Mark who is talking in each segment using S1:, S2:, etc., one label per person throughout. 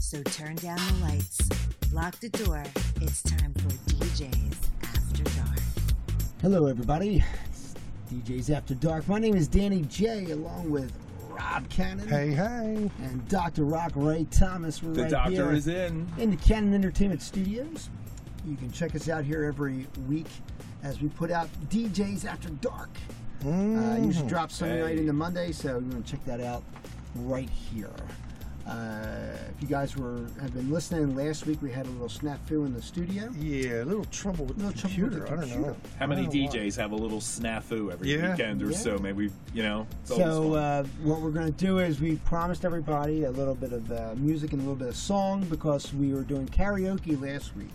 S1: So turn down the lights, lock the door. It's time for DJs After Dark.
S2: Hello, everybody. It's DJ's After Dark. My name is Danny J, along with Rob Cannon
S3: Hey, hey.
S2: and Dr. Rock Ray Thomas. We're
S4: The
S2: right
S4: doctor
S2: here
S4: is in.
S2: in the Cannon Entertainment Studios. You can check us out here every week as we put out DJs After Dark. Uh, usually drops Sunday night
S4: Mm. Hey.
S2: into Monday, so you want to check that out right here. Uh, if you guys were have been listening last week, we had a little snafu in the studio.
S3: Yeah, a little trouble with the
S2: Little trouble with
S3: computer.
S2: the
S3: I don't know.
S2: computer.
S3: I
S4: How many
S3: don't know why.
S4: DJs have a little snafu every
S3: Yeah.
S4: weekend or
S2: Oh, Yeah.
S4: so? Maybe we, you know, it's always
S2: So
S4: fun.
S2: uh, what we're going to do is we promised everybody a little bit of uh, music and a little bit of song because we were doing karaoke last week,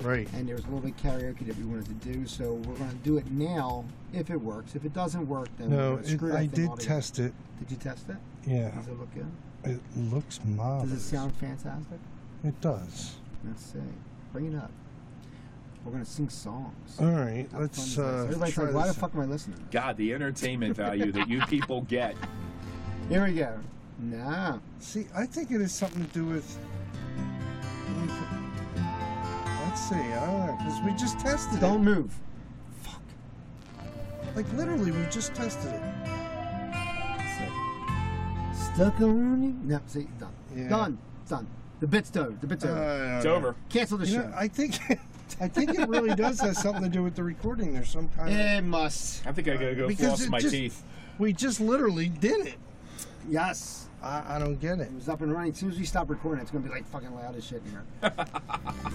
S3: Right.
S2: and there was a little bit of karaoke that we wanted to do. So we're going to do it now if it works. If it doesn't work, then
S3: No,
S2: we're
S3: it,
S2: screwed
S3: I did test it.
S2: Did you test it?
S3: Yeah,
S2: Does it look good?
S3: it looks
S2: Does
S3: marvelous.
S2: it sound fantastic?
S3: It does.
S2: Let's see. Bring it up. We're going to sing songs.
S3: All right,
S2: How fun is
S3: Uh, let's.
S2: this?
S3: Uh,
S2: Everybody's
S3: try
S2: like, why the
S3: this.
S2: fuck am I listening?
S4: God, the entertainment value that you people get.
S2: Here we go. Nah.
S3: See, I think it has something to do with. Let me put- Let's see. I don't know because we just tested
S2: Don't move.
S3: it. Like literally, we just tested it.
S2: Stuck on you. No, see, done.
S3: Yeah.
S2: Done. Done. The bit's over. The bit's over.
S3: Uh,
S4: It's over.
S2: Cancel the
S3: You
S2: show.
S3: know, I think. I think it really does have something to do with the recording. There's some kind of.
S2: it must.
S4: I think I gotta go
S3: Because
S4: floss
S3: it
S4: my
S3: just-
S4: teeth.
S3: We just literally did it.
S2: Yes.
S3: I, I don't get it.
S2: It was up and running. As soon as we stop recording, it's going to be like fucking loud as shit in here.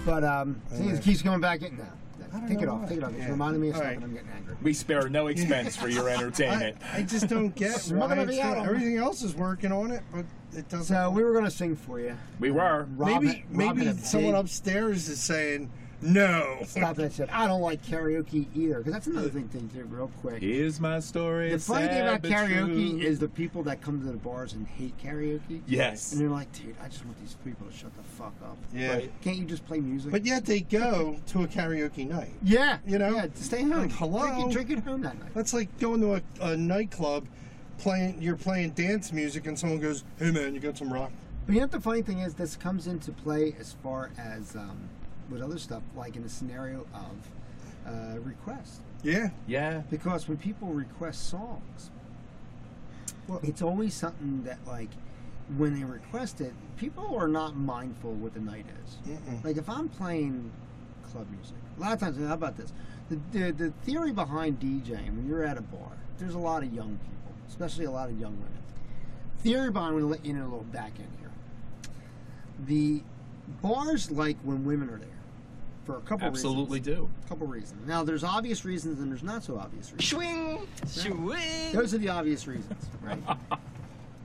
S2: but, um, see, it keeps going back in. No.
S3: I
S2: no.
S3: don't
S2: Take it
S3: know
S2: off.
S3: why.
S2: Take it off. It's
S3: Yeah.
S2: reminding me of
S3: All
S2: something.
S3: right.
S2: I'm getting angry.
S4: We spare no expense for your
S3: I,
S4: entertainment.
S3: I just don't get
S2: Smoking
S3: why
S2: of the
S3: it's not-
S2: atom.
S3: everything else is working on it, but it doesn't.
S2: So, we were going to sing for you.
S4: we were.
S2: Rob-
S3: maybe
S2: Rob
S3: maybe
S2: had a
S3: someone
S2: big-
S3: upstairs is saying no.
S2: Stop that shit. I don't like karaoke either. Because that's another thing, thing, too, real quick.
S4: Is my story.
S2: The funny thing
S4: sad
S2: about
S4: but
S2: karaoke
S4: true?
S2: is the people that come to the bars and hate karaoke.
S4: Yes.
S2: And they're like, dude, I just want these people to shut the fuck up.
S3: Yeah.
S2: Like, can't you just play music?
S3: But yet they go to a karaoke night.
S2: yeah,
S3: you know,
S2: yeah, stay home.
S3: like, hello?
S2: drink, it- drink it home that night.
S3: That's like going to a, a nightclub, playing you're playing dance music, and someone goes, "Hey man, you got some rock?"
S2: But you know what the funny thing is? This comes into play as far as um, with other stuff, like in the scenario of uh, request.
S3: Yeah,
S4: Yeah.
S2: Because when people request songs, well, it's always something that like when they request it, people are not mindful what the night is.
S3: Mm-mm.
S2: Like if I'm playing club music, a lot of times. How about this? The, the the theory behind DJing when you're at a bar, there's a lot of young people, especially a lot of young women. Theory behind. I'm gonna let you in a little back end here. The bars like when women are there for a couple reasons
S4: Absolutely do.
S2: couple reasons. Now, there's obvious reasons and there's not so obvious reasons. Swing, swing. Those are the obvious reasons, right?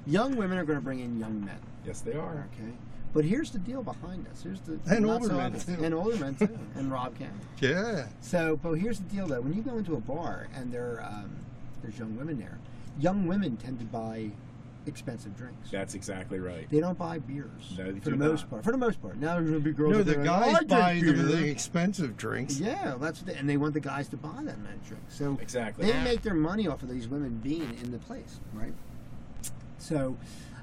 S2: young women are going to bring in young men.
S4: Yes, they are.
S2: Okay. But here's the deal behind this. Here's the
S3: And
S2: not
S3: older
S2: so
S3: men,
S2: obvious-
S3: too.
S2: and older men too, and Rob Cam.
S3: yeah.
S2: So, but here's the deal though. When you go into a bar and there um, there's young women there, young women tend to buy expensive drinks.
S4: That's exactly right.
S2: They don't buy beers
S4: No, they
S2: for the
S4: do
S2: most
S4: not.
S2: part. For the most part, now there's going to be girls.
S3: No,
S2: that
S3: the
S2: are like, "Oh,
S3: guys
S2: "I drink
S3: buy the,
S2: beer."
S3: the expensive drinks.
S2: Yeah, that's what they, and they want the guys to buy that many drinks. So
S4: Exactly.
S2: they make their money off of these women being in the place, right? So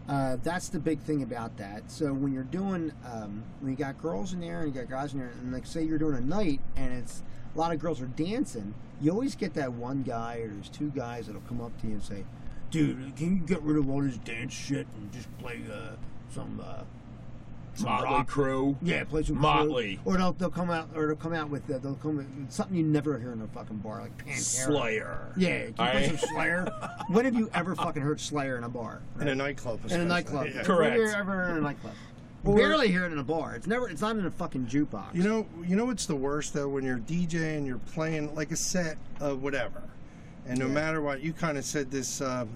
S2: uh, that's the big thing about that. So when you're doing, um, when you got girls in there and you got guys in there, and like say you're doing a night and it's a lot of girls are dancing, you always get that one guy or there's two guys that'll come up to you and say, "Dude, can you get rid of all this dance shit and just play uh, some." Uh, some
S4: Motley
S2: rock
S4: Crew.
S2: yeah, play some
S4: Motley.
S2: Crew. Or they'll, they'll come out, or they'll come out with uh, they'll come with something you never hear in a fucking bar, like Pantera.
S4: Slayer.
S2: Yeah, can you play
S4: I-
S2: some Slayer? when have you ever fucking heard Slayer in a bar?
S3: In a nightclub.
S2: In a
S3: especially.
S2: nightclub,
S3: Yeah.
S2: When
S4: Correct.
S2: have you ever heard in a nightclub? Barely hear it in a bar. It's never. It's not in a fucking jukebox.
S3: You know, you know what's the worst though when you're DJing, you're playing like a set of whatever, and no matter what, you kind of said this um,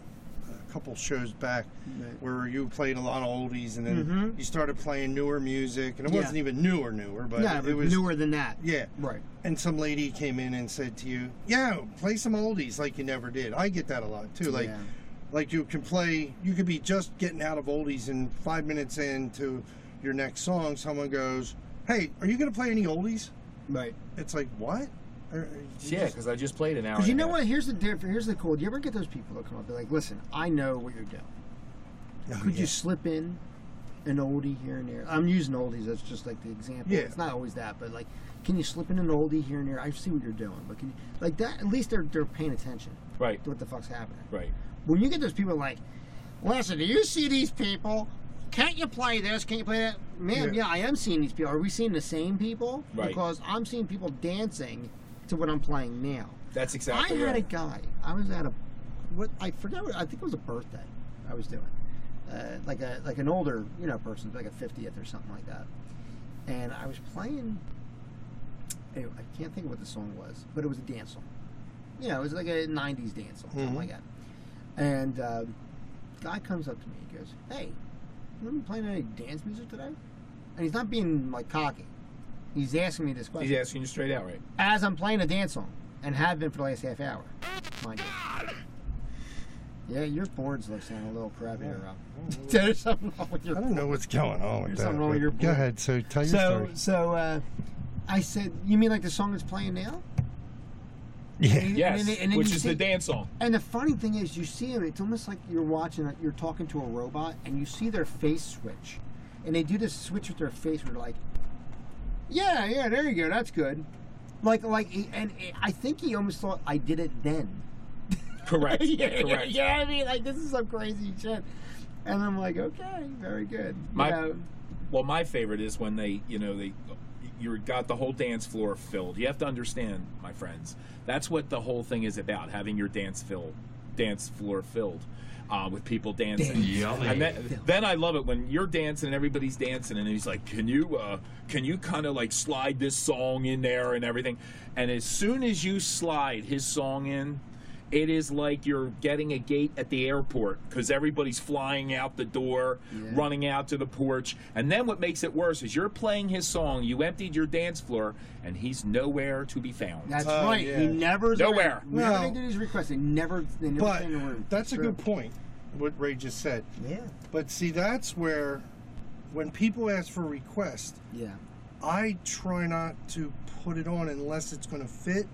S3: a couple shows back
S2: Right.
S3: where you played a lot of oldies, and then
S2: Mhm.
S3: you started playing newer music, and it
S2: Yeah.
S3: wasn't even newer, newer, but
S2: yeah,
S3: it,
S2: but
S3: was
S2: newer than that.
S3: Yeah,
S2: Right.
S3: and some lady came in and said to you, "Yeah, play some oldies like you never did." I get that a lot too. Like,
S2: Yeah.
S3: like you can play, you could be just getting out of oldies, and five minutes into your next song, someone goes, "Hey, are you going to play any oldies?"
S2: Right.
S3: It's like what? Are- are you
S4: Yeah,
S3: just-
S4: because I just played an
S3: Oh,
S4: hour.
S2: Because you
S4: and a
S2: know
S4: half.
S2: what? Here's the difference. Here's the cool. Do you ever get those people that come up? They're like, "Listen, I know what you're doing.
S3: Oh,
S2: Could
S3: yeah.
S2: you slip in an oldie here and there. I'm using oldies as just like the example.
S3: Yeah.
S2: It's not always that, but like, can you slip in an oldie here and there? I see what you're doing, but can you like that? At least they're they're paying attention
S4: Right.
S2: to what the fuck's happening.
S4: Right.
S2: When you get those people like, listen, do you see these people? Can't you play this? Can't you play that? Man, yeah.
S3: Yeah.
S2: I am seeing these people. Are we seeing the same people?
S4: Right.
S2: Because I'm seeing people dancing to what I'm playing now.
S4: That's exactly
S2: I had
S4: right.
S2: a guy. I was at a what I forgot. What, I think it was a birthday. I was doing uh, like a like an older you know person, like a fiftieth or something like that. And I was playing. Anyway, I can't think of what the song was, but it was a dance song. You know, it was like a '90s dance song, something
S3: Mhm.
S4: Mm-hmm.
S2: like that. And uh, guy comes up to me and goes, "Hey, you been playing any dance music today?" And he's not being like cocky. He's asking me this question
S4: He's asking you straight out, right?
S2: as I'm playing a dance song, and have been for the last half hour. Mind you. Yeah, your boards look sound a little crappy, Rob. There's something wrong with your.
S3: I don't know what's going on with
S2: There's
S3: that.
S2: something wrong with
S3: but
S2: your
S3: Go
S2: board.
S3: ahead. So tell your
S2: So,
S3: story.
S2: so uh, I said, you mean like the song that's playing now?
S3: Yeah.
S4: Yes.
S2: then- and then
S4: which
S2: you
S4: is
S2: see-
S4: the dance song.
S2: And the funny thing is, you see them. It's almost like you're watching. You're talking to a robot, and you see their face switch, and they do this switch with their face. Where they're like, "Yeah, yeah, there you go. That's good." Like, like, he- and eh, I think he almost thought I did it then.
S4: Correct.
S2: yeah, yeah,
S4: Correct.
S2: yeah, I mean, like this is some crazy shit. And I'm like, okay, very good. You
S4: My-
S2: know,
S4: Well, my favorite is when they, you know, they, you got the whole dance floor filled. You have to understand, my friends, that's what the whole thing is about: having your dance fill, dance floor filled. Uh, with people dancing, and then, then I love it when you're dancing and everybody's dancing, and he's like, "Can you, uh, can you kind of like slide this song in there and everything?" And as soon as you slide his song in, it is like you're getting a gate at the airport because everybody's flying out the door, running out to the porch. And then what makes it worse is you're playing his song, you emptied your dance floor, and he's nowhere to be found.
S2: that's
S3: Oh,
S2: right.
S3: yeah.
S2: He never's
S4: Nowhere.
S2: Around. Whenever
S3: No.
S2: they do these requests, they never, they never
S3: But
S2: stay in the room.
S3: that's a
S2: True.
S3: good point. What Ray just said.
S2: Yeah,
S3: But see, that's where, when people ask for requests,
S2: yeah.
S3: I try not to put it on unless it's going to fit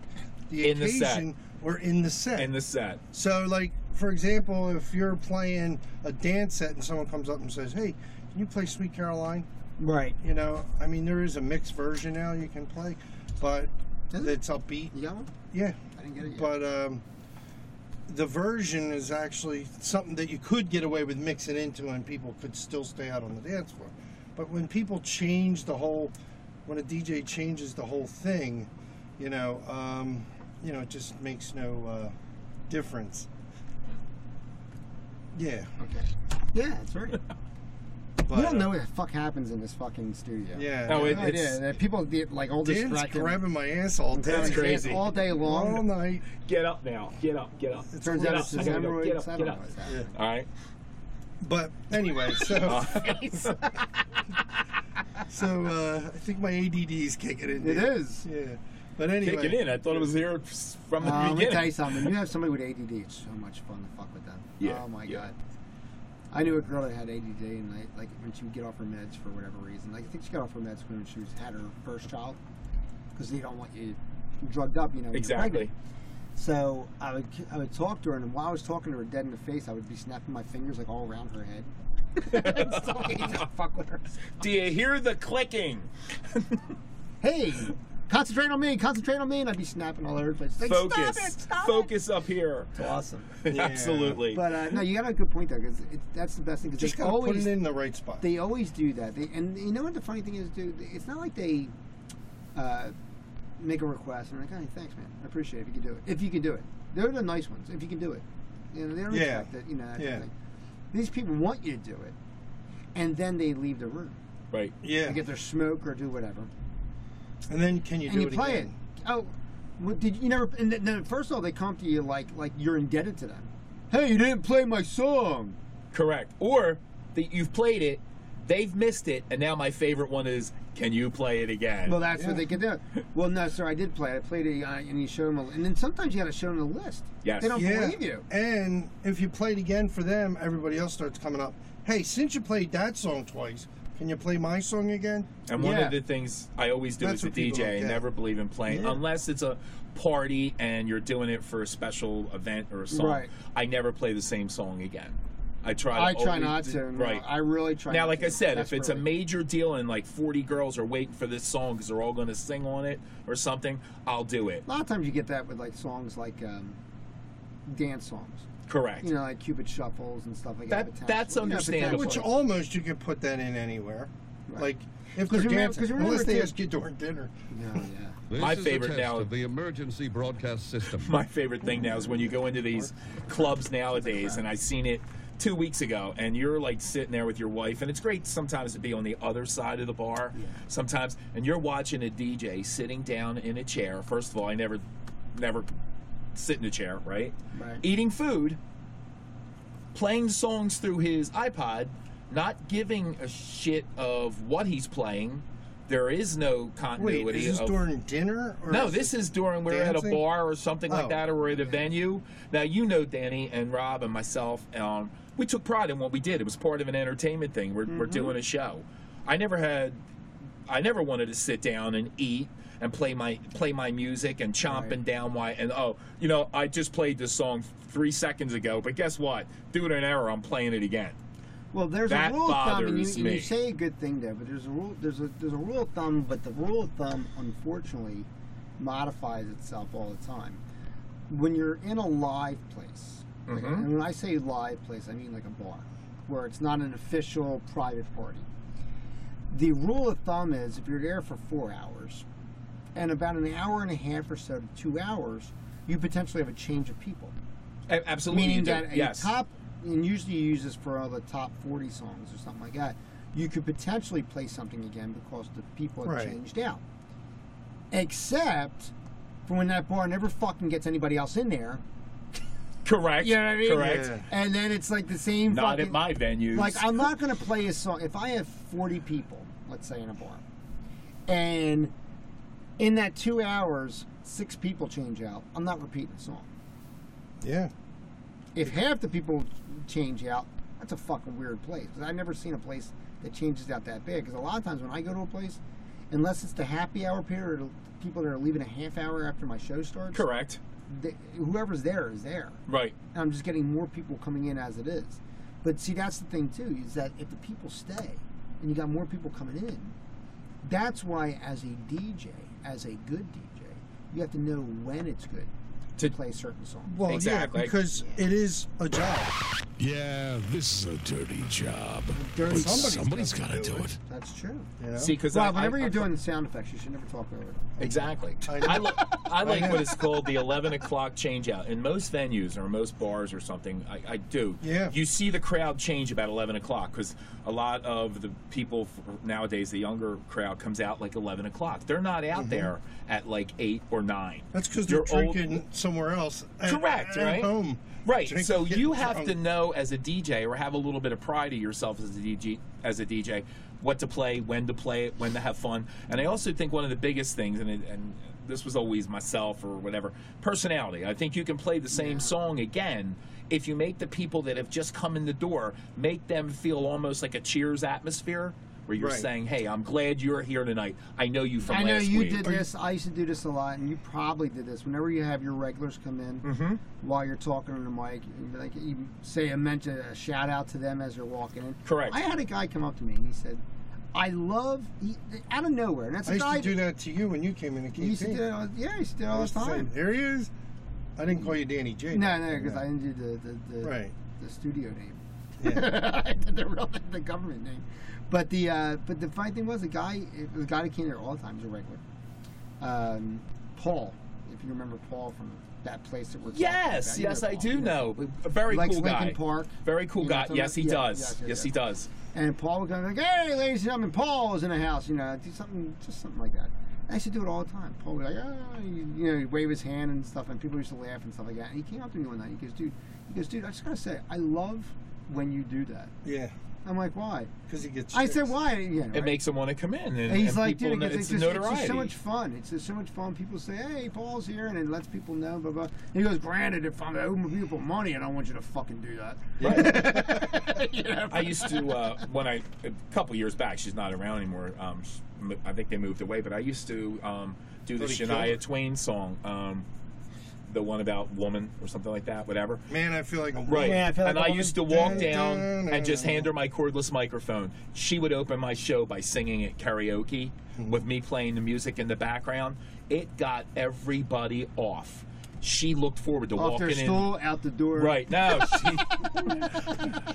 S3: the
S4: In the set.
S3: occasion or in the set.
S4: In the set.
S3: so, like for example, if you're playing a dance set and someone comes up and says, "Hey, can you play Sweet Caroline?"
S2: Right.
S3: You know, I mean, there is a mixed version now you can play, but
S2: Is it?
S3: it's upbeat.
S2: You got one?
S3: Yeah,
S2: I didn't get it yet.
S3: but um, the version is actually something that you could get away with mixing into, and people could still stay out on the dance floor. But when people change the whole, when a DJ changes the whole thing, you know, um, you know, it just makes no uh, difference. Yeah,
S2: okay. Yeah, that's right.
S3: but,
S2: you don't know
S3: uh,
S2: what the fuck happens in this fucking studio.
S3: Yeah,
S4: No, it-
S2: No idea.
S4: it's-
S2: Uh, People get like all
S3: Dan's
S2: distracted.
S3: grabbing my ass all
S2: I'm telling
S3: day,
S4: That's
S2: you,
S4: crazy.
S2: dance All day
S3: all
S2: long.
S3: night.
S4: Get up now. Get up. Get up.
S3: It's
S2: Turns
S3: Get
S2: out
S4: up,
S2: it's his
S4: I gotta go. Get
S2: hemorrhoids.
S4: up,
S2: I
S4: get
S2: don't know
S4: up.
S2: what's
S3: Yeah.
S2: happening.
S4: All right.
S3: But anyway, so
S2: Face.
S4: Ah.
S3: so uh, I think my ADD is kicking in.
S2: It
S3: dude.
S2: is.
S3: Yeah. But anyway,
S4: Kick it in. I thought it was there from the
S2: Uh, let me tell you
S4: beginning.
S2: something. When you have somebody with ADD, it's so much fun to fuck with them.
S4: Yeah,
S2: oh my
S4: yeah.
S2: god. I knew a girl that had ADD, and I, like when she would get off her meds for whatever reason. Like I think she got off her meds when she was, had her first child, because they don't want you drugged up, you know. when you're
S4: Exactly.
S2: pregnant. So I would I would talk to her, and while I was talking to her dead in the face, I would be snapping my fingers like all around her head. It's so easy to fuck with her.
S4: Do you hear the clicking?
S2: Hey, concentrate on me, concentrate on me, and I'd be snapping all over the place. Like, stop
S4: Focus.
S2: it, stop it."
S4: Focus up here.
S2: It's awesome.
S3: Yeah.
S4: Absolutely.
S2: But uh, no, you got a good point there because that's the best thing. Because
S3: Just
S2: they
S3: gotta
S2: always
S3: put it in the right spot.
S2: they always do that. They, and you know what the funny thing is, dude? It's not like they uh, make a request and they're like, "Hey, thanks, man. I appreciate it. If you can do it, if you can do it, they're the nice ones. If you can do it, you know, they don't
S3: Yeah.
S2: respect it. You know, that kind of
S3: Yeah.
S2: thing. these people want you to do it, and then they leave the room.
S4: right.
S3: yeah.
S2: They get their smoke or do whatever,
S3: And then can you do
S2: and you
S3: it
S2: play
S3: again?
S2: it. Oh, well, did you, you never? And then- then first of all, they come to you like like you're indebted to them. Hey, you didn't play my song.
S4: Correct. Or that you've played it, they've missed it, and now my favorite one is, can you play it again?
S2: Well, that's
S3: Yeah.
S2: what they could do. Well, no, sir, I did play. it. I played it, uh, and you show them, a, and then sometimes you got to show them the list.
S4: Yes.
S2: they don't
S3: Yeah.
S2: believe you.
S3: And if you play it again for them, everybody else starts coming up. Hey, since you played that song twice, can you play my song again?
S4: And one
S2: Yeah.
S4: of the things I always do
S3: That's
S4: as a
S3: what people
S4: DJ,
S3: don't
S4: I
S3: get.
S4: never believe in playing
S3: Yeah.
S4: unless it's a party and you're doing it for a special event or a song.
S2: Right.
S4: I never play the same song again. I try. to
S2: I try
S4: always-
S2: not to. no,
S4: Right.
S2: I really try.
S4: Now,
S2: not
S4: like
S2: to.
S4: I said,
S2: That's
S4: if it's a
S2: perfect.
S4: major deal and like 40 girls are waiting for this song because they're all going to sing on it or something, I'll do it.
S2: a lot of times you get that with like songs like um, dance songs.
S4: Correct.
S2: You know, like Cupid shuffles and stuff like
S4: That-
S2: that. potentially.
S4: that's
S2: You know,
S4: understandable.
S2: potentially.
S4: Which
S3: Which almost you could put that in anywhere. Like if they're
S2: 'Cause remember-
S3: dancing,
S2: 'cause remember
S3: unless they
S2: too-
S3: ask you during dinner.
S2: No, yeah.
S5: This
S4: My
S5: is
S4: favorite
S5: a test
S4: now-
S5: of the emergency broadcast system.
S4: My favorite thing now is when you go into these clubs nowadays, and I seen it two weeks ago, and you're like sitting there with your wife, and it's great sometimes to be on the other side of the bar, sometimes, and you're watching a DJ sitting down in a chair. First of all, I never, never sit in a chair, right?
S2: Right.
S4: Eating food, playing songs through his iPod, not giving a shit of what he's playing. There is no continuity.
S3: Wait, is this
S4: of,
S3: during dinner? Or
S4: Oh. no, this is during we're at a
S3: dancing?
S4: bar or something like
S3: Oh,
S4: that, or we're at a venue. Now you know Danny and Rob and myself. Um, we took pride in what we did. It was part of an entertainment thing. We're, we're doing a show. I never had, I never wanted to sit down and eat and play my play my music and chomping down why and oh you know I just played this song three seconds ago, but guess what? Due to an error, I'm playing it again.
S2: Well, there's
S4: That
S2: a rule of thumb, and you,
S4: bothers
S2: and
S4: me.
S2: you say a good thing there, but there's a rule. There's a there's a rule of thumb, but the rule of thumb, unfortunately, modifies itself all the time. When you're in a live place, like-
S4: Mm-hmm.
S2: and when I say live place, I mean like a bar, where it's not an official private party. The rule of thumb is if you're there for four hours, and about an hour and a half or so to two hours, you potentially have a change of people.
S4: A- Absolutely, you
S2: Meaning
S4: do.
S2: that a
S4: yes.
S2: top, and usually you use this for all the top 40 songs or something like that, you could potentially play something again because the people have
S3: Right.
S2: changed out. Except for when that bar never fucking gets anybody else in there.
S4: correct.
S2: You know what I mean?
S4: Correct.
S3: Yeah.
S2: And then it's like the same
S4: Not
S2: fucking,
S4: at my venues.
S2: Like, I'm not going to play a song. If I have 40 people, let's say, in a bar, and in that two hours, six people change out, I'm not repeating the song.
S3: Yeah.
S2: if half the people change out, that's a fucking weird place. 'Cause I've never seen a place that changes out that big. Because a lot of times when I go to a place, unless it's the happy hour period, or people that are leaving a half hour after my show starts,
S4: correct.
S2: they- whoever's there is there.
S4: Right.
S2: And I'm just getting more people coming in as it is. But see, that's the thing too, is that if the people stay and you got more people coming in, that's why as a DJ, as a good DJ, you have to know when it's good to,
S4: To-
S2: play certain songs.
S3: Well,
S4: Exactly.
S3: yeah, because it is a job.
S6: Yeah, this is a dirty job.
S2: Dirty
S6: But
S2: songs.
S6: somebody's, got to do it.
S2: That's true.
S3: You know?
S4: See, because
S2: Rob, whenever you're doing the sound effects, you should never talk over it.
S4: Exactly.
S3: I know.
S4: I, li- I like what is called the 11 o'clock change out. In most venues or most bars or something, I, I do.
S3: Yeah.
S4: You see the crowd change about 11 o'clock because a lot of the people f- nowadays, the younger crowd, comes out like 11 o'clock. They're not out there at like 8 or 9.
S3: Mm-hmm. That's because they're
S4: Your old-
S3: drinking somewhere else. at-
S4: Correct,
S3: at
S4: right?
S3: Home.
S4: Right.
S3: Drinking,
S4: so
S3: getting
S4: you have
S3: drunk.
S4: to know as a DJ or have a little bit of pride of yourself as a DJ as a DJ what to play, when to play it, when to have fun. And I also think one of the biggest things and it, and this was always myself or whatever, personality. I think you can play the same song again if you make the people that have just come in the door make them feel almost like a cheers atmosphere where you're
S3: Right.
S4: saying, "Hey, I'm glad you're here tonight. I know you from
S2: I know
S4: last
S2: you
S4: week."
S2: did this. I used to do this a lot, and you probably did this. Whenever you have your regulars come in
S3: Mm-hmm.
S2: while you're talking on the mic, and, like you say a mention, a shout out to them as they're walking in.
S4: Correct.
S2: I had a guy come up to me and he said, "I love," he, out of nowhere, and that's
S3: I
S2: a
S3: used
S2: guy.
S3: to do that to you when you came in and
S2: he used to do it
S3: KP.
S2: all, yeah, he used to do it
S3: I
S2: all the
S3: used to say,
S2: time.
S3: There he is. I didn't call you Danny J.
S2: No,
S3: back
S2: no,
S3: then,
S2: because I didn't do the the, the,
S3: Right.
S2: the studio name.
S3: Yeah.
S2: I did the real the government name. But the uh, but the funny thing was the guy the guy that came there all the time was a regular. Um, Paul, if you remember Paul from that place that we're talking
S4: Yes,
S2: about. You
S4: yes, I
S2: Paul,
S4: do
S2: yeah.
S4: know. A very
S2: Likes
S4: cool
S2: Lincoln
S4: guy.
S2: Park.
S4: Very cool
S2: You know
S4: guy.
S2: what I'm
S4: Yes, he
S2: talking about? Yeah,
S4: does.
S2: yes, yes,
S4: yes,
S2: yes.
S4: he does.
S2: And Paul would go like, "Hey, ladies and gentlemen, Paul is in the house." You know, do something, just something like that. I used to do it all the time. Paul would be like, "Ah," you, you know, he'd wave his hand and stuff, and people used to laugh and stuff like that. And he came up to me one night. He goes, "Dude," he goes, "Dude, I just gotta say, I love when you do that."
S3: yeah.
S2: I'm like, "Why?"
S3: Because he gets.
S2: I said,
S3: chicks.
S2: "Why?" You know,
S4: it
S2: right?
S4: makes them want to come in. And,
S2: And he's
S4: and
S2: like,
S4: people
S2: dude,
S4: know-
S2: because
S4: it's
S2: it's, just, it's
S4: notoriety.
S2: just so much fun. It's just so much fun. People say, hey, Paul's here, and it lets people know, blah, blah. And he goes, granted, if I'm owing people money, I don't want you to fucking do that.
S4: I used to uh, when I a couple years back. She's not around anymore. Um, sh- m- I think they moved away. But I used to um, do the
S3: Thought he killed
S4: Shania
S3: her.
S4: Twain song. Um, the one about woman or something like that, whatever.
S3: Man, I feel like a
S4: Right.
S2: Yeah, I feel like
S4: and
S2: a
S4: I
S2: woman.
S4: used to walk down and just hand her my cordless microphone. She would open my show by singing at karaoke
S3: Hmm.
S4: with me playing the music in the background. It got everybody off. She looked forward to
S2: Off
S4: walking
S2: their
S4: in.
S2: stool, out the door.
S4: Right now, she,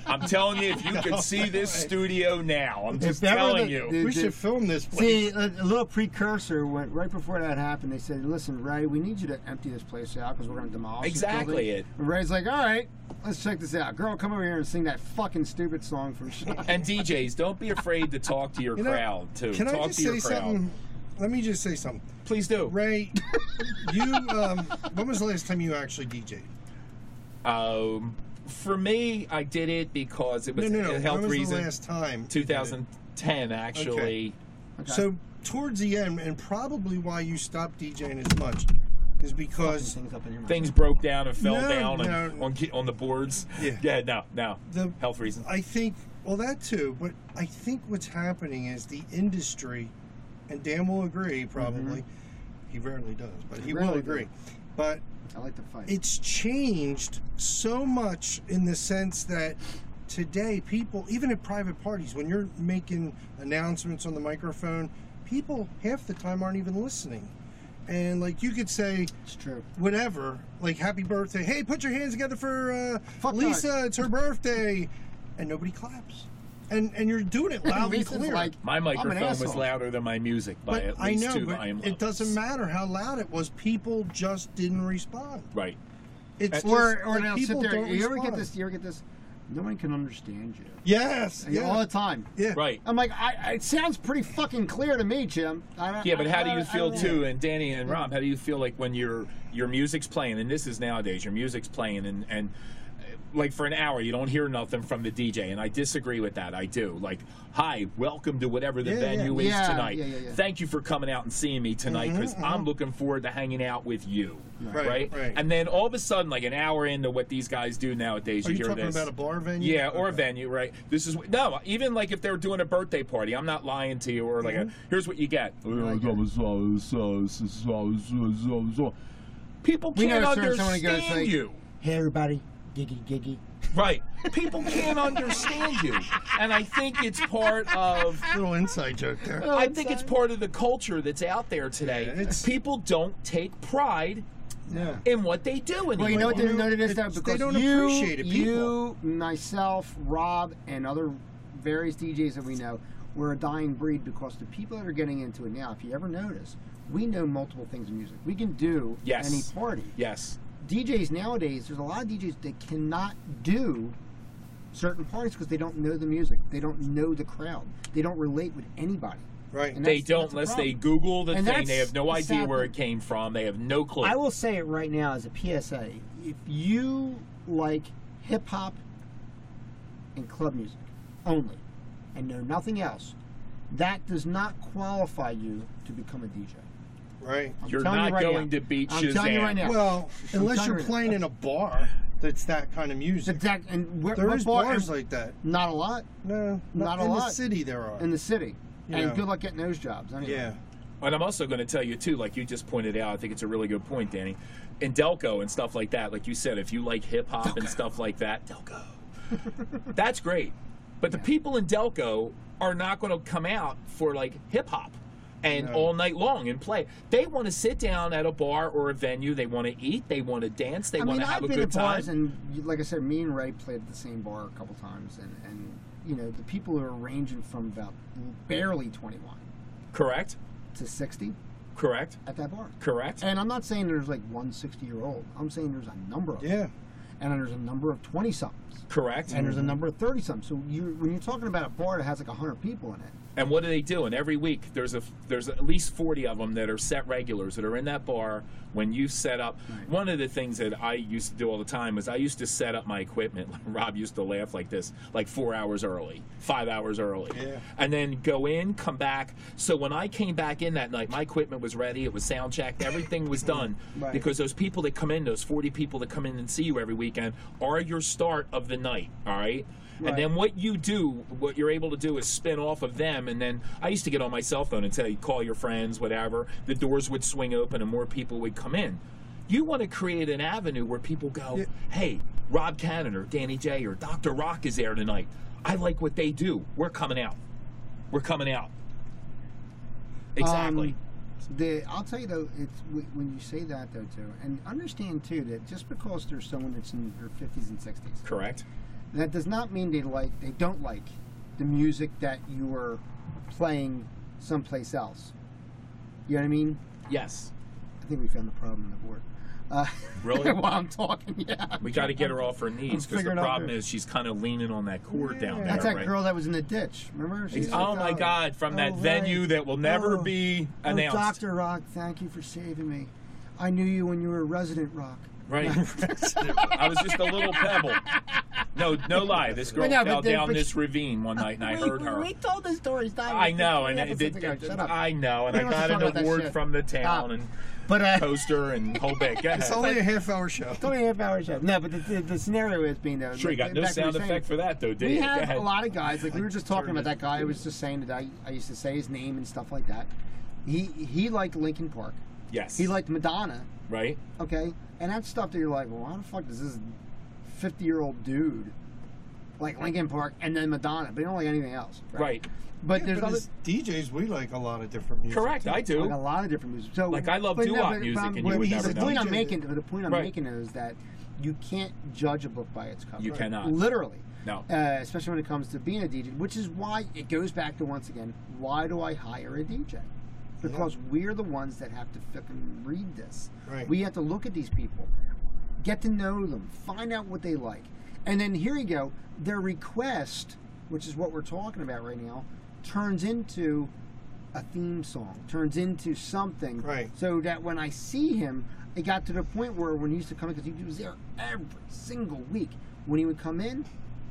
S4: I'm telling you, if you could see this studio now, I'm just
S2: that were
S4: telling
S2: the-
S4: you.
S2: the-
S3: We should film this place.
S2: See, a, a little precursor went right before that happened. They said, "Listen, Ray, we need you to empty this place out because we're going to demolish this
S4: Exactly
S2: building."
S4: it.
S2: And Ray's like, "All right, let's check this out. Girl, come over here and sing that fucking stupid song from."
S4: and DJs, don't be afraid to talk to your
S3: You know,
S4: crowd too.
S3: Can
S4: talk
S3: I just
S4: to your
S3: say
S4: crowd.
S3: something? Let me just say something.
S4: Please do.
S3: Ray, you um, when was the last time you actually DJed?
S4: Um, for me, I did it because it
S3: No,
S4: was
S3: no, no.
S4: a health
S3: when was
S4: reason.
S3: the last time? you did it?
S4: 2010, actually.
S3: So towards the end, and probably why you stopped DJing as much, is because
S2: things up in your mouth.
S4: Things broke down and fell
S3: No,
S4: down and,
S3: no.
S4: on ki- on the boards.
S3: Yeah.
S4: no, no.
S3: The-
S4: health reason.
S3: I think well that too, but I think what's happening is the industry, and Dan will agree probably. He rarely does, but he will
S2: Mm-hmm. Rarely
S3: agree.
S2: does.
S3: But
S2: I like to fight.
S3: it's changed so much in the sense that today people even at private parties when you're making announcements on the microphone people half the time aren't even listening and like you could say
S2: it's true.
S3: whatever like happy birthday hey put your hands together for uh,
S2: Fuck
S3: lisa it's her birthday and nobody claps and and you're doing it loud and
S2: Lisa's
S3: clear
S2: like,
S4: My microphone was
S2: asshole.
S4: louder than my music by
S3: but
S4: at least
S3: i know
S4: two
S3: but
S4: volume
S3: it
S4: levels.
S3: doesn't matter how loud it was people just didn't respond
S4: Right.
S3: it's
S2: Or or
S3: just, like,
S2: now sit
S3: people
S2: there.
S3: don't
S2: You ever get
S3: respond.
S2: this? You ever get this? No one can understand you.
S3: Yes.
S2: And you-
S3: Yeah.
S2: All the time.
S3: yeah.
S4: Right.
S2: I'm like, I, I- it sounds pretty fucking clear to me, Jim. I don't,
S4: Yeah, but
S2: I-
S4: how do
S2: I-
S4: you
S2: I
S4: feel
S2: don't know.
S4: too? And Danny and Rob, how do you feel like when your your music's playing? And this is nowadays, your music's playing, and and uh, like for an hour, you don't hear nothing from the DJ. And I disagree with that. I do. Like, hi, welcome to whatever the
S3: Yeah, yeah.
S4: venue is
S2: Yeah,
S4: tonight.
S2: yeah, yeah, Mm-hmm, yeah.
S4: Thank you for coming out and seeing me tonight because I'm looking forward to hanging out with you.
S3: Right, right.
S4: And then all of a sudden, like an hour into what these guys do nowadays,
S3: Are you
S4: hear
S3: talking
S4: this.
S3: about a bar venue?
S4: Yeah, or a
S3: Okay.
S4: venue, right? This is no, even like if they were doing a birthday party, I'm not lying to you. Or like,
S3: Mm-hmm.
S4: a, here's what you get.
S3: Oh,
S4: People
S2: We
S4: can't
S2: know certain someone who
S4: understand
S2: goes like-
S4: you,
S2: Hey, everybody. Giggy, giggy.
S4: right? People can't understand you, and I think it's part of.
S3: Little inside joke there.
S2: Oh,
S4: I think it's part of the culture that's out there today.
S3: Yeah, it's-
S4: People don't take pride
S3: yeah.
S4: in what they do anymore.
S2: Well, you know what?
S3: Well,
S2: They, no, it is though
S3: it's-
S2: because
S3: they don't
S2: you,
S3: appreciate it,
S2: you,
S3: people.
S2: myself, Rob, and other various DJs that we know, we're a dying breed because the people that are getting into it now, if you ever notice, we know multiple things in music. We can do
S4: Yes.
S2: any party.
S4: Yes.
S2: DJs nowadays, there's a lot of DJs that cannot do certain parties because they don't know the music, they don't know the crowd, they don't relate with anybody.
S3: Right.
S2: And
S4: They
S2: that's-
S4: don't
S2: that's a
S4: unless
S2: problem.
S4: they Google the
S2: And
S4: thing. They
S2: that's
S4: have no
S2: the
S4: idea
S2: sad
S4: where
S2: thing.
S4: it came from. They have no clue.
S2: I will say it right now as a PSA. If you like hip hop and club music only and know nothing else, that does not qualify you to become a DJ.
S3: Right.
S2: I'm
S4: You're
S2: telling you
S4: not
S2: right
S4: going
S2: now.
S4: to beat
S2: I'm telling you
S4: Shazam.
S2: right now.
S3: Well,
S2: I'm
S3: unless
S2: telling
S3: you're
S2: you.
S3: playing in a bar that's that kind of
S2: So
S3: music.
S2: that- and we're,
S3: There
S2: we're
S3: is
S2: bar-
S3: bars like that.
S2: not a lot
S3: No,
S2: Not a
S3: in
S2: lot.
S3: the city there are.
S2: in the city.
S3: Yeah.
S2: And good luck getting those jobs. Anyway.
S3: yeah.
S4: And I'm also going to tell you too, like you just pointed out, I think it's a really good point, Danny. In Delco and stuff like that, like you said, if you like hip hop and stuff like that, Delco, that's great. But the people in Delco are not going to come out for like hip hop and all night long and play. They want to sit down at a bar or a venue. They want to eat. They want to dance. They
S2: I
S4: want
S2: mean,
S4: to have
S2: I've
S4: a
S2: been
S4: good
S2: at bars,
S4: time.
S2: and you- like I said, me and Ray played at the same bar a couple times, and, and you know the people are ranging from about barely 21
S4: Correct.
S2: to 60
S4: Correct.
S2: at that bar.
S4: Correct.
S2: And I'm not saying there's like one 60 year old. I'm saying there's a number of them.
S3: Yeah.
S2: And there's a number of 20 somethings.
S4: Correct.
S2: And there's a number of 30 somethings. So you're, when you're talking about a bar that has like 100 people in it,
S4: And what do they do? And every week, there's a there's at least forty of them that are set regulars that are in that bar when you set up. One of the things that I used to do all the time was I used to set up my equipment. Rob used to laugh like this, like four hours early, five hours early,
S3: Yeah.
S4: and then go in, come back. So when I came back in that night, my equipment was ready. It was sound checked. Everything was done
S2: Right.
S4: because those people that come in, those forty people that come in and see you every weekend, are your start of the night. All right.
S2: Right.
S4: And then what you do, what you're able to do is spin off of them. And then I used to get on my cell phone and tell you, call your friends, whatever. The doors would swing open and more people would come in. You want to create an avenue where people go,
S3: Yeah.
S4: hey, Rob Cannon or Danny J or Dr. Rock is there tonight. I like what they do. We're coming out. We're coming out. Exactly.
S2: Um, the, I'll tell you though, it's, wh- when you say that though too, and understand too that just because there's someone that's in their 50s and 60s,
S4: Correct.
S2: that does not mean they like they don't like the music that you're playing someplace else. You know what I mean?
S4: Yes.
S2: I think we found the problem in the board. Uh,
S4: Really?
S2: while I'm talking, yeah.
S4: We got to get her off her knees because the
S2: figuring out
S4: problem
S2: who-
S4: is she's kind of leaning on that cord down there.
S2: That's that
S4: right?
S2: girl that was in the ditch. Remember? She
S4: It's-
S2: was
S4: oh
S2: like,
S4: my God! From that
S2: oh, right.
S4: venue that will never
S2: Oh.
S4: be
S2: Oh,
S4: announced.
S2: Dr. Rock, thank you for saving me. I knew you when you were a resident rock.
S4: Right. I was just a little pebble. No, no lie. This girl
S2: Well, no, but
S4: fell
S2: the-
S4: down
S2: but
S4: this
S2: she-
S4: ravine one night, and I
S2: we,
S4: heard her.
S2: We told this story. Stop.
S4: I know, and it,
S2: Episodes
S4: it,
S2: ago. Shut up.
S4: I know, and
S2: We
S4: I
S2: don't have
S4: got
S2: to talk
S4: an
S2: about that
S4: award
S2: shit.
S4: from the town
S2: Stop.
S4: and
S2: but uh,
S4: poster and whole bit. Go
S3: It's
S4: ahead.
S3: only a half hour show.
S2: three and a half hour show. No, but the, the, the scenario is being though.
S4: Sure, you got no
S2: back to what
S4: sound
S2: you're saying.
S4: effect for that though, did
S2: We
S4: you? Go
S2: had
S4: ahead.
S2: a lot of guys. Like we were just talking
S4: turned
S2: about that guy. I was just saying that I, I used to say his name and stuff like that. He he liked Linkin Park.
S4: Yes.
S2: He liked Madonna.
S4: right.
S2: Okay, and that's stuff that you're like, well, how the fuck does this fifty year old dude like Linkin Park and then Madonna, but he don't like anything else.
S4: Right.
S2: But
S3: Yeah,
S2: there's
S3: but
S2: other
S3: as DJs we like a lot of different music.
S4: Correct.
S3: too.
S4: I
S2: like a
S4: do.
S2: lot of different music. So
S4: Like, I love
S2: but no,
S4: doo-wop
S2: but-
S4: music
S2: but
S4: and you
S2: what-
S4: would
S2: the
S4: never know.
S2: point I'm
S3: DJ.
S2: making, the point I'm
S4: Right.
S2: making is that you can't judge a book by its cover.
S4: You cannot.
S2: Literally.
S4: No.
S2: Uh, especially when it comes to being a DJ, which is why it goes back to once again, why do I hire a DJ? Because we're the ones that have to fucking read this.
S3: Right.
S2: We have to look at these people, get to know them, find out what they like. And then here you go, their request, which is what we're talking about right now, turns into a theme song, turns into something.
S3: Right.
S2: So that when I see him, it got to the point where when he used to come in, because he was there every single week, when he would come in,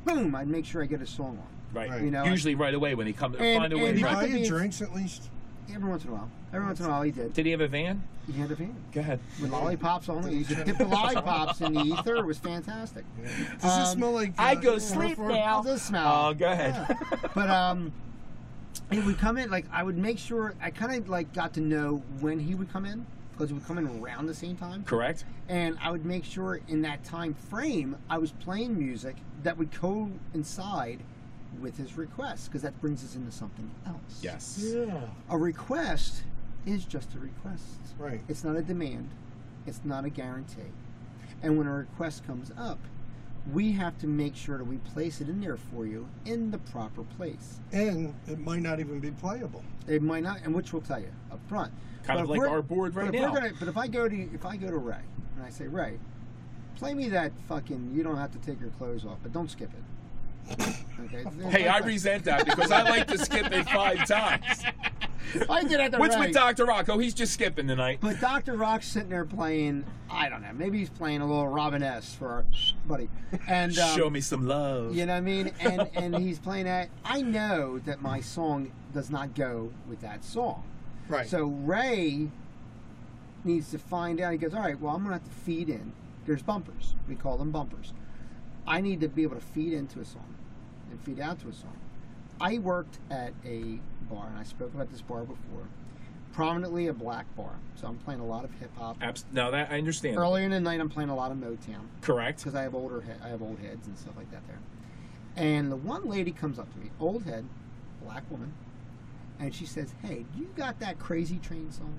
S2: boom, I'd make sure I get a song on.
S4: Right.
S3: Right.
S2: You know,
S4: Usually right away when he comes,
S2: And-
S4: find a
S2: and
S4: way.
S3: Did he
S2: not
S4: Right.
S3: buy
S2: to be-
S3: you drinks at least?
S2: every once in a while. Every once in a while he did.
S4: Did he have a van?
S2: He had a fan.
S4: Go ahead.
S2: With lollipops on it. He used to dip the lollipops in the ether. It was fantastic.
S3: Does this
S2: Um,
S3: smell like?
S4: I
S3: uh,
S4: go sleep
S2: Chloroform?
S4: now.
S2: Does it smell?
S4: Oh, go ahead.
S2: Yeah. but um, he would come in. Like I would make sure I kind of like got to know when he would come in because he would come in around the same time,
S4: Correct.
S2: and I would make sure in that time frame I was playing music that would coincide with his request because that brings us into something else.
S4: Yes.
S3: Yeah.
S2: A request is just a request.
S3: Right.
S2: It's not a demand. It's not a guarantee. And when a request comes up, we have to make sure that we place it in there for you in the proper place.
S3: And it might not even be playable.
S2: It might not, and which we'll tell you up front. But
S4: Kind of
S2: if
S4: like
S2: we're-
S4: our board
S2: but
S4: right
S2: if we're
S4: now.
S2: gonna- but if I go to if I go to Ray and I say Ray, play me that fucking you don't have to take your clothes off, but don't skip it. Okay.
S4: Hey, I resent that because I like to skip it five times.
S2: I did that to
S4: What's
S2: Ray.
S4: with Dr. Rocco? He's just skipping tonight.
S2: But Dr. Rock's sitting there playing, I don't know, maybe he's playing a little Robin S for our buddy. And um,
S4: Show me some love.
S2: You know what I mean? And and he's playing that. I know that my song does not go with that song.
S3: Right.
S2: So Ray needs to find out. He goes, all right. Well, I'm gonna have to feed in. There's bumpers. We call them bumpers. I need to be able to feed into a song and feed out to a song. I worked at a bar, and I spoke about this bar before. Prominently a black bar, so I'm playing a lot of hip hop.
S4: Abs- now that I understand.
S2: Earlier in the night, I'm playing a lot of Motown
S4: Correct.
S2: because I have older he- I have old heads and stuff like that there. And the one lady comes up to me, old head, black woman, and she says, "Hey, you got that Crazy Train song?"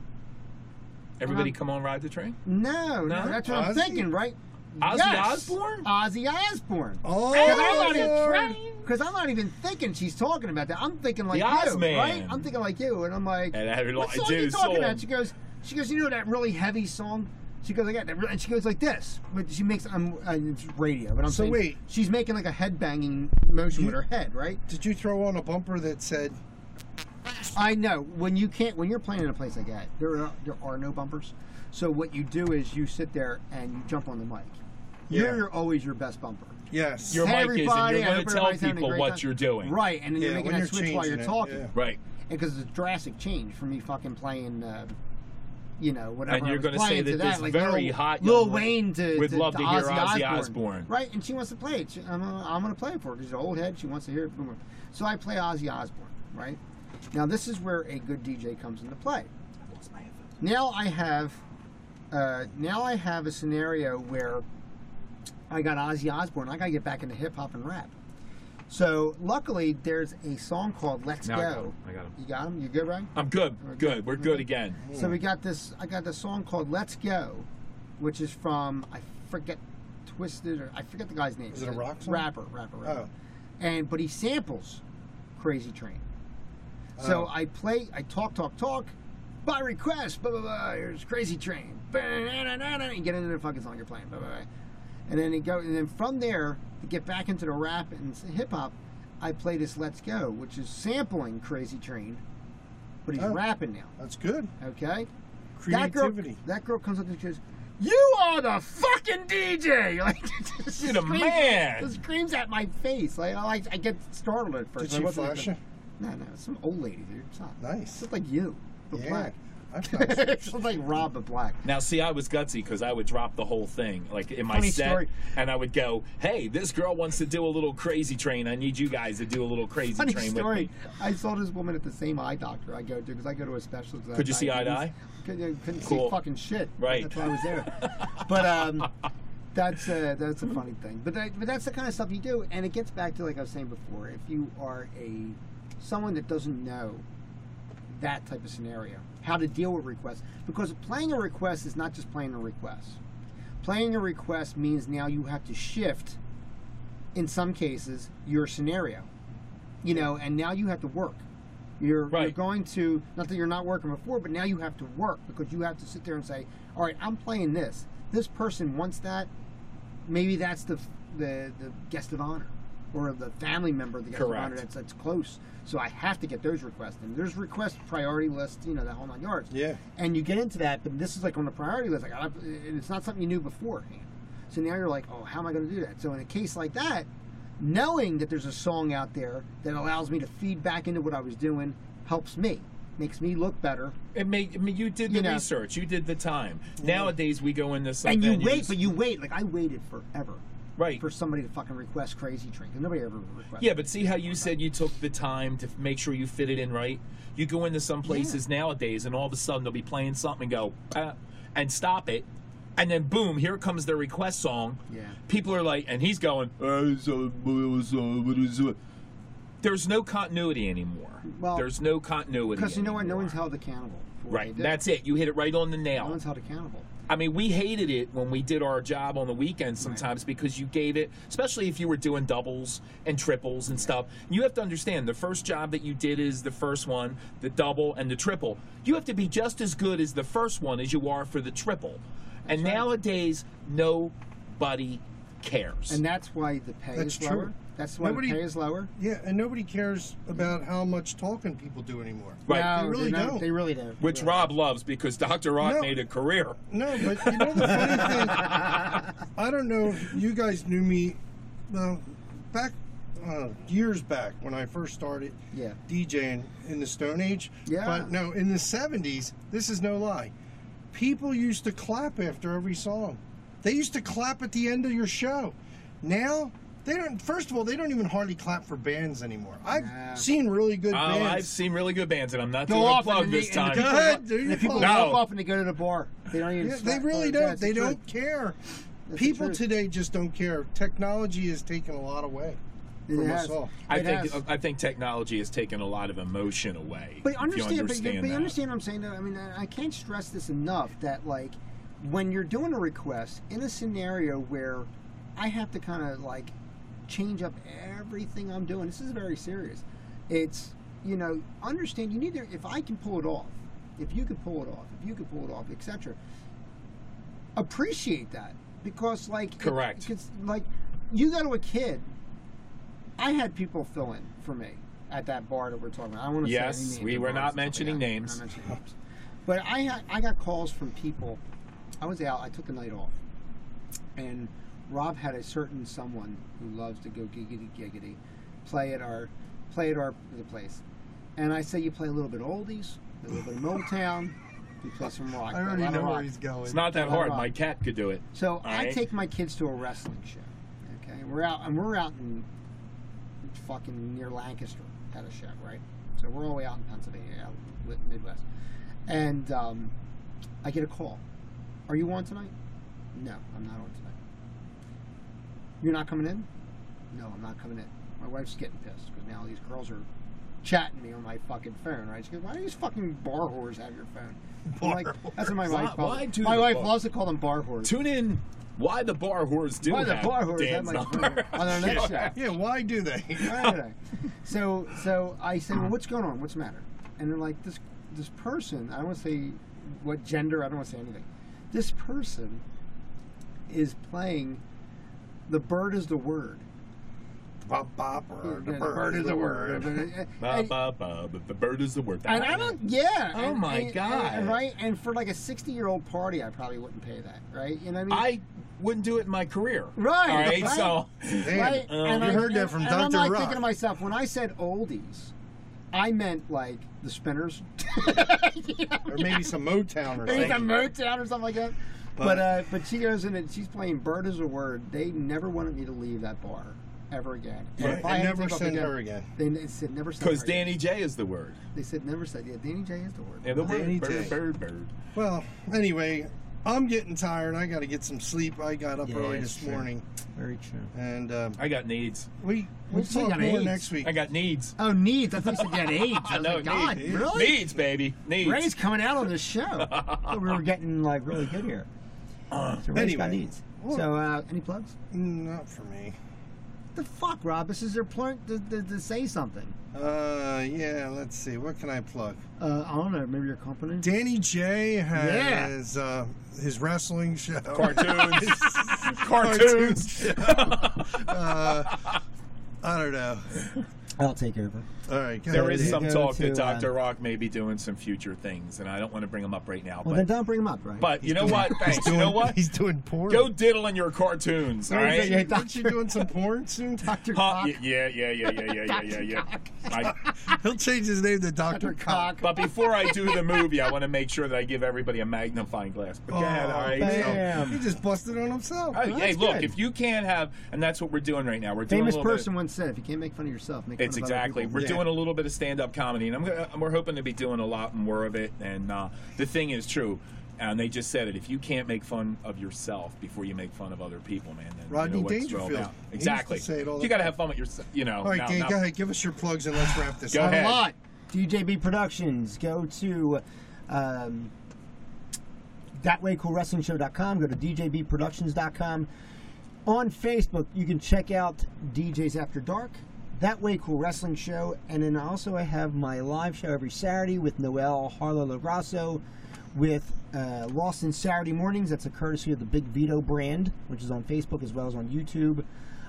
S4: Everybody,
S2: Um,
S4: come on, ride the train.
S2: No, no,
S4: No?
S2: that's what I'm
S3: Ozzy?
S2: thinking, right?
S4: Ozzy
S2: Yes!
S4: Osbourne?
S2: Ozzy Osbourne.
S3: Oh,
S2: Because I'm, not
S3: Lord.
S2: even- 'cause I'm not even thinking she's talking about that. I'm thinking like
S4: The
S2: you,
S4: Ozman.
S2: right? I'm thinking like you, and I'm like,
S4: And I
S2: what song
S4: do
S2: you talking
S4: soul.
S2: about? She goes, she goes, you know that really heavy song. She goes, I got that, re-" and she goes like this. But she makes, I'm, uh, it's radio, but I'm
S3: So
S2: saying
S3: wait.
S2: she's making like a head banging motion with her head, right?
S3: Did you throw on a bumper that said?
S2: I know when you can't when you're playing in a place like that, there are there are no bumpers. So what you do is you sit there and you jump on the mic.
S3: Yeah.
S2: You're always your best bumper.
S3: Yes.
S4: Your
S2: Hey,
S4: mic is, and
S2: everybody,
S4: you're
S2: I
S4: going
S2: hope
S4: to tell
S2: everybody's having a
S4: people
S2: great
S4: what
S2: time.
S4: you're doing.
S2: Right, and then
S3: Yeah,
S2: you're making
S3: when
S2: that
S3: you're
S2: switch while
S3: changing
S2: you're
S3: it,
S2: talking.
S3: yeah.
S4: Right.
S2: because it's a drastic change for me fucking playing uh, you know whatever
S4: And you're
S2: going
S4: gonna
S2: to
S4: say that
S2: to
S4: this very
S2: Lil,
S4: hot young
S2: Lil
S4: lady
S2: Wayne to
S4: would
S2: to,
S4: love
S2: to,
S4: to hear
S2: Ozzy,
S4: Ozzy
S2: Osbourne.
S4: Osbourne.
S2: right and she wants to play it She- I'm, gonna- I'm going to play it for her because she's an old head she wants to hear it boom. so I play Ozzy Osbourne right now this is where a good DJ comes into play now I have uh, now I have a scenario where I got Ozzy Osbourne. I got to get back into hip hop and rap. So luckily, there's a song called "Let's
S4: Now I got
S2: Go."
S4: him. I got him.
S2: You got him. You good, right?
S4: I'm good. Good. We're good again.
S2: So
S3: Hmm.
S2: we got this. I got this song called "Let's Go," which is from I forget Twisted or I forget the guy's name.
S3: Is it a rock song?
S2: Rapper, rapper, rapper.
S3: Oh.
S2: And but he samples Crazy Train. So
S3: Oh.
S2: I play. I talk, talk, talk. By request, blah blah blah. Here's Crazy Train. Ba-na-na-na-na, And get into the fucking song you're playing. Blah blah blah. And then it go. And then from there to get back into the rap and hip hop, I play this "Let's Go," which is sampling Crazy Train, but he's
S3: Oh.
S2: rapping now.
S3: That's good.
S2: Okay. That girl,
S3: Creativity.
S2: that girl comes up to me and goes, "You are the fucking DJ!" Like, just
S4: You're the
S2: screams-
S4: man.
S2: Just screams at my face. Like, I, like, I get startled at first.
S3: Did she
S2: I wasn't
S3: flash
S2: even-
S3: you?
S2: No, no, some old lady, dude. It's not
S3: Nice.
S2: Just like you, but
S3: Yeah.
S2: black.
S3: I've got
S2: She's like Rob, but black.
S4: Now, see, I was gutsy because I would drop the whole thing, like in my
S2: Funny
S4: set,
S2: story.
S4: and I would go, "Hey, this girl wants to do a little crazy train. I need you guys to do a little crazy
S2: Funny
S4: train with
S2: story.
S4: me."
S2: I saw this woman at the same eye doctor I go to because I go to a specialist.
S4: Could you see eye to
S2: diabetes. Couldn't, couldn't
S4: Cool.
S2: see fucking shit.
S4: Right.
S2: That's why I was there. but um, that's uh, that's a funny thing. But that, but that's the kind of stuff you do, and it gets back to like I was saying before. If you are a someone that doesn't know that type of scenario, how to deal with requests, because playing a request is not just playing a request. Playing a request means now you have to shift, in some cases, your scenario. You know, and now you have to work. You're, you're
S4: Right.
S2: going to not that you're not working before, but now you have to work because you have to sit there and say, "All right, I'm playing this. This person wants that. Maybe that's the the, the guest of honor or the family member of the guest of honor
S4: Correct.
S2: that's that's close. So I have to get those requests in. There's request priority list, you know, that whole nine yards.
S3: Yeah.
S2: And you get into that, but this is like on the priority list. Like, I, and it's not something you knew beforehand. So now you're like, oh, how am I going to do that? So in a case like that, knowing that there's a song out there that allows me to feed back into what I was doing helps me, makes me look better.
S4: It made I mean, you did the
S2: You know.
S4: research, you did the time. Nowadays, we go into something
S2: and you wait, but you wait. Like I waited forever
S4: right.
S2: for somebody to fucking request Crazy Train. 'cause nobody ever requested.
S4: Yeah, but see how you said you took the time to make sure you fit it in right? You go into some places nowadays and all of a sudden they'll be playing something and go, "Ah," and stop it. And then boom, here comes their request song.
S2: Yeah.
S4: People are like, and he's going, "Uh, so, uh, so, uh, so." there's no continuity anymore.
S2: Well,
S4: there's no continuity.
S2: because you know what? No
S4: anymore.
S2: one's held accountable. For what
S4: Right,
S2: they did.
S4: that's it. You hit it right on the
S2: no
S4: nail.
S2: one's held accountable.
S4: I mean, we hated it when we did our job on the weekends sometimes because you gave it, especially if you were doing doubles and triples and stuff. You have to understand the first job that you did is the first one, the double and the triple. You have to be just as good as the first one as you are for the triple. and nowadays, nobody cares.
S2: And that's why the pay
S3: That's
S2: is
S3: true.
S2: lower. That's why
S3: Nobody-
S2: the pay is lower.
S3: yeah, and nobody cares about how much talking people do anymore.
S4: right.
S2: No,
S3: They really
S2: not-
S3: don't.
S2: They really don't.
S4: Which Rob loves because Dr. Rock
S3: No.
S4: made a career.
S3: No, but you know the funny thing. I don't know if you guys knew me. Well, back uh, years back when I first started
S2: Yeah.
S3: DJing in the Stone Age.
S2: Yeah.
S3: But no, in the '70s, this is no lie. People used to clap after every song. They used to clap at the end of your show. Now. They don't. First of all, they don't even hardly clap for bands anymore. I've
S2: Nah.
S3: seen really good
S4: Oh,
S3: bands.
S4: I've seen really good bands, and I'm not
S2: Go
S4: doing a
S2: off
S4: plug
S2: and the- and
S4: this
S2: the
S4: time.
S3: Go
S2: people-
S3: ahead, dude.
S2: And people
S4: No.
S2: walk off and they go to the bar. They don't even.
S3: Yeah, they
S2: sweat.
S3: really
S2: Yeah,
S3: don't.
S2: it's
S3: They
S2: the truth.
S3: don't care.
S2: That's the
S3: People
S2: truth.
S3: today just don't care. Technology has taken a lot away
S2: It
S3: from us
S2: has.
S3: all.
S4: I
S2: It
S4: think
S2: has.
S4: I think technology has taken a lot of emotion away.
S2: But
S4: if you
S2: understand, but, but
S4: that.
S2: you understand what I'm saying. Though. I mean, I I can't stress this enough that like when you're doing a request in a scenario where I have to kind of like change up everything I'm doing. This is very serious. It's you know understand you need to if I can pull it off, if you can pull it off, if you can pull it off, etc. Appreciate that because like it-
S4: Correct.
S2: because, like you go to a kid. I had people fill in for me at that bar that we're talking about. I want to
S4: Yes,
S2: say any names
S4: we
S2: of
S4: were
S2: bars
S4: not
S2: and stuff like
S4: mentioning
S2: that. We're
S4: names.
S2: not mentioning names. But I had, I got calls from people. I was out. I took the night off, and Rob had a certain someone who loves to go giggity giggity, play at our play at our the place, and I say you play a little bit of oldies, a little bit of Motown, you play some rock.
S3: I
S2: a
S3: already
S2: lot of
S3: know where
S2: rock.
S3: he's going.
S4: It's not that
S2: Hold
S4: hard.
S2: on.
S4: My cat could do it.
S2: So I
S4: right.
S2: take my kids to a wrestling show. Okay, we're out and we're out in fucking near Lancaster at a show, right? So we're all the way out in Pennsylvania, out with Midwest, and um, I get a call Are you on tonight? No, I'm not on tonight. You're not coming in? No, I'm not coming in. My wife's getting pissed because now these girls are chatting me on my fucking phone, right? She goes, "Why do these fucking bar whores have your phone?" I'm like, that's what my
S4: Why-
S2: wife calls.
S4: why
S2: it.
S4: do
S2: my
S4: the
S2: wife
S4: bar-
S2: loves to call them bar whores.
S4: Tune in. Why the bar whores do
S2: Why the
S4: have
S2: bar whores have
S4: Dan's
S2: my phone
S4: number.
S2: on our next show?
S3: Yeah, why do they?
S2: Friday. so so I said, well, what's going on? What's the matter? And they're like, this this person. I don't want to say what gender. I don't want to say anything. This person is playing. The bird is the word.
S3: Bop, bop, or the
S2: Yeah,
S3: bird is the
S2: The
S3: word.
S2: bird- and-
S4: Ba, ba, ba, ba, the bird is the word.
S2: And I don't. Yeah.
S4: Oh
S2: and-
S4: my
S2: and- and-
S4: God.
S2: right. And for like a sixty-year-old party, I probably wouldn't pay that. Right. You know what I mean?
S4: I wouldn't do it in my career.
S2: Right,
S4: All right.
S2: right.
S4: So
S3: Damn.
S2: Right?
S4: Um,
S2: and
S4: You
S2: I,
S3: Oh, heard that from
S2: and I'm
S3: Dr.
S2: like
S3: Rock.
S2: thinking to myself, when I said oldies, I meant like the spinners.
S3: Or maybe some Motown or
S2: Maybe
S3: something.
S2: it's a Motown or something like that. But
S3: But-
S2: but, uh, but she goes in and she's playing Bird is a Word. They never wanted me to leave that bar ever again. And
S3: Right,
S2: if
S3: they
S2: I had to
S3: never
S2: take off
S3: send
S2: again-
S3: her again.
S2: They n- said never send
S4: because
S2: her again.
S4: Danny J is the word.
S2: They said never said. Yeah, Danny J is the word.
S4: Yeah, the
S3: Danny
S4: word bird,
S3: J.
S4: bird, bird.
S3: Well, anyway, I'm getting tired. I got to get some sleep. I got up
S2: Yeah,
S3: early
S2: that's
S3: this
S2: true.
S3: morning,
S2: Very true.
S3: and um,
S4: I got needs.
S3: we we'll
S2: You
S3: talk
S2: got
S3: more
S2: AIDS.
S3: next week.
S4: I got needs.
S2: Oh, needs. I thought you said you had AIDS. I was
S4: No,
S2: like, God,
S4: needs.
S2: really?
S4: Needs, baby. Needs.
S2: Ray's coming out on this show. I thought we were getting like really good here. So Ray's got
S3: Uh, anyway.
S2: needs. So uh, any plugs?
S3: Mm, Not for me.
S2: The fuck, Rob? This is your point to, to, to say something.
S3: Uh, yeah. Let's see. What can I plug?
S2: Uh, I don't know. Maybe your company.
S3: Danny J
S2: Yeah.
S3: has uh, his wrestling show.
S4: Cartoons.
S3: Cartoons.
S4: Cartoons.
S3: I don't know.
S2: I'll take over.
S3: All right. go
S4: There
S3: ahead,
S4: is
S3: Ian.
S4: some
S2: go
S4: talk
S2: to,
S4: that
S2: uh,
S4: Dr. Rock may be doing some future things, and I don't want to bring them up right now.
S2: Well,
S4: but
S2: then don't bring him up, right?
S4: but you know what? Thanks.
S3: Doing,
S4: you know what?
S3: He's doing porn.
S4: Go diddle in your cartoons, all
S3: Aren't
S4: right?
S3: you- aren't you doing some porn soon?
S2: Dr.
S4: Huh?
S2: Cock.
S4: Y- Yeah, yeah, yeah, yeah, yeah, yeah, yeah, yeah. I-
S3: He'll change his name to Doctor Cock.
S4: But before I do the movie, I want to make sure that I give everybody a magnifying glass. But yeah, all right.
S2: Oh, man.
S4: so- Oh,
S2: Damn.
S3: Oh, He just busted on himself.
S4: Hey, hey,
S2: that's
S4: look,
S2: good.
S4: if you can't have, and that's what we're doing right now. We're doing
S2: Famous
S4: a little bit-
S2: person once said, "If you can't make fun of yourself, make fun
S4: It's
S2: of
S4: exactly.
S2: other
S4: We're
S2: people."
S3: Yeah.
S4: doing a little bit of stand-up comedy, and I'm gonna, we're hoping to be doing a lot more of it. And uh, the thing is true, and they just said it. If you can't make fun of yourself before you make fun of other people, man, then
S3: Rodney
S4: you know what's
S3: Dangerfield.
S4: wrong now.
S3: He used to
S4: Exactly.
S3: say it all the
S4: you got to have fun with yourself. You know.
S3: All right,
S4: now-
S3: Dan,
S4: now-
S3: go ahead. Give us your plugs and let's wrap this
S4: Go
S3: up.
S4: ahead.
S2: a lot. DJB Productions. Go to um, thatwaycoolwrestlingshow.com. Go to djbproductions.com. On Facebook, you can check out DJs After Dark, That Way Cool Wrestling Show, and then also I have my live show every Saturday with Noel Harlow Lagrasso with uh, Lost in Saturday Mornings. That's a courtesy of the Big Vito brand, which is on Facebook as well as on YouTube.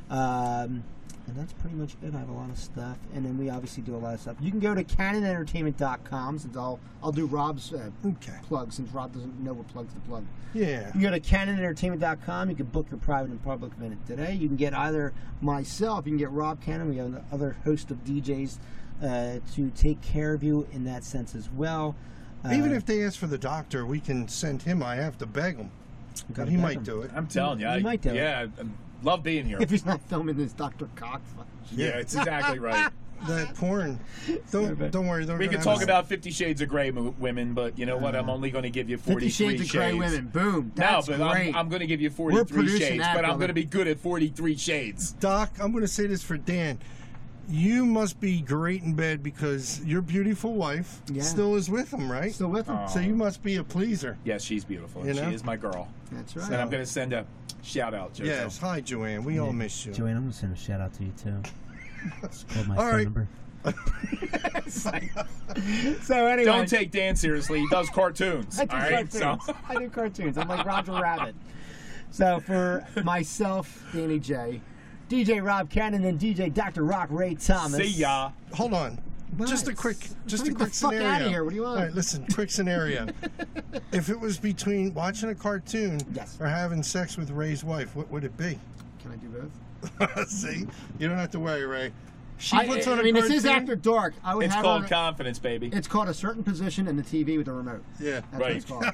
S2: Um, and that's pretty much it. I have a lot of stuff, and then we obviously do a lot of stuff. You can go to canonentertainment.com since I'll I'll do Rob's uh,
S3: Okay.
S2: plug since Rob doesn't know what plugs to plug.
S3: Yeah.
S2: You go to canonentertainment.com. You can book your private and public event today. You can get either myself, you can get Rob Cannon, we have the other host of DJs uh, to take care of you in that sense as well. Uh,
S3: Even if they ask for the doctor, we can send him. I have to beg him. But
S2: gotta
S3: he
S2: beg
S3: might
S2: him.
S3: do it.
S4: I'm telling you,
S2: You
S4: I,
S2: might do it.
S4: yeah, I- I love being here.
S2: if he's not filming this Dr. Cox,
S4: yeah, it's exactly right.
S3: That porn. Don't don't worry. They're
S4: We
S3: gonna
S4: could
S3: have
S4: talk
S3: a-
S4: about Fifty Shades of Grey mo- women, but you know what? I'm only going to give you
S2: Fifty
S4: 43
S2: Shades of Grey Women, boom.
S4: No,
S2: That's
S4: but
S2: great.
S4: I'm, I'm going to give you 43
S2: producing
S4: shades,
S2: that,
S4: but I'm
S2: brother.
S4: going to be good at 43 shades.
S3: Doc. I'm going to say this for Dan. You must be great in bed because your beautiful wife
S2: Yeah.
S3: still is with him, right?
S2: Still with him.
S3: So you must be a pleaser.
S4: Yes, she's beautiful. and
S3: You know?
S4: She is my girl.
S2: That's right.
S4: And I'm going to send a shout out, Jojo.
S3: Yes. Hi, Joanne. We all miss you.
S7: Joanne, I'm gonna send a shout out to you too. Just called my
S3: All
S7: phone
S3: right.
S7: number.
S2: so anyway,
S4: Don't take Dan seriously. He does cartoons.
S2: I do
S4: all right?
S2: cartoons.
S4: So,
S2: I do cartoons. I'm like Roger Rabbit. So for myself, Danny J, DJ Rob Cannon, and DJ Dr. Rock Ray Thomas.
S4: see ya.
S3: Hold on.
S2: What?
S3: Just a quick, just
S2: Get
S3: a
S2: the
S3: quick
S2: fuck outta
S3: scenario.
S2: here. What do you want?
S3: All right, listen. Quick scenario. if it was between watching a cartoon
S2: Yes.
S3: or having sex with Ray's wife, what would it be?
S2: Can I do both?
S3: See, you don't have to worry, Ray. She
S2: I,
S3: puts on a
S2: I mean, this
S3: cartoon.
S2: is after dark. I would
S4: It's
S2: have
S4: called
S2: her-
S4: confidence, baby.
S2: it's called a certain position in the TV with a remote.
S3: Yeah.
S2: That's what it's called.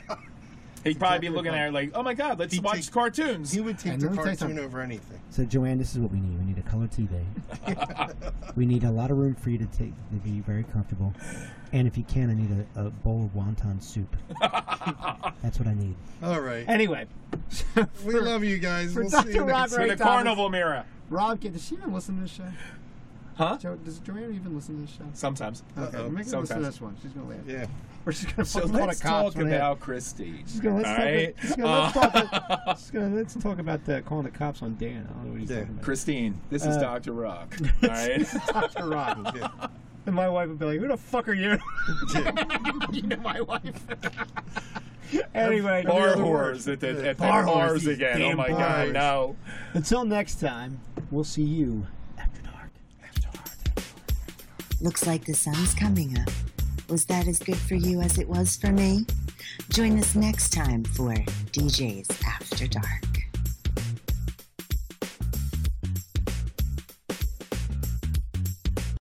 S4: He'd probably
S3: Exactly
S4: be looking
S3: right.
S4: at her like, "Oh my God, let's
S3: He'd
S4: watch
S3: take-
S4: cartoons."
S3: He would take
S2: And
S3: the
S2: let me tell you
S3: cartoon
S2: something.
S3: over anything.
S7: So Joanne, this is what we need. We need a color TV. we need a lot of room for you to take to be very comfortable. And if you can, I need a, a bowl of wonton soup. That's what I need.
S3: All right.
S2: Anyway,
S3: we love you guys.
S2: for
S3: We'll see you
S2: Dr.
S3: next
S2: Rock-
S4: With
S2: Ray
S4: a
S2: Thomas.
S4: carnival mirror.
S2: Rob, does she even listen to this show?
S4: Huh?
S2: Jo- does Joanne even listen to this
S4: Uh,
S2: show?
S4: Sometimes.
S2: Okay,
S4: Uh-oh.
S2: make her listen to
S4: Sometimes.
S2: this one. She's gonna laugh.
S3: Yeah.
S2: Or she's gonna
S4: So
S2: fucking call
S4: let's
S2: the cops
S4: talk
S2: on it.
S4: about Christie.
S2: She's gonna, let's,
S4: All
S2: talk,
S4: right?
S2: she's gonna, let's,
S4: Uh,
S2: talk about, she's gonna, let's talk about that calling the cops on Dan. I don't know what he's
S3: Yeah.
S2: talking about.
S4: Christine, this is
S2: Uh,
S4: Dr. Rock. All right?
S2: Dr. Rock.
S3: Yeah.
S2: And my wife would be like, "Who the fuck are you?"
S3: Yeah.
S2: you know my wife. anyway,
S4: Bar
S3: other
S4: whores
S3: word.
S4: at the,
S3: Yeah.
S4: at the
S2: Bar whores,
S4: bars
S2: these
S4: again. Oh
S2: damn
S4: my
S2: bars.
S4: God, no.
S2: until next time, we'll see you after dark.
S1: Looks like the sun's coming up. Was that as good for you as it was for me? Join us next time for DJs After Dark.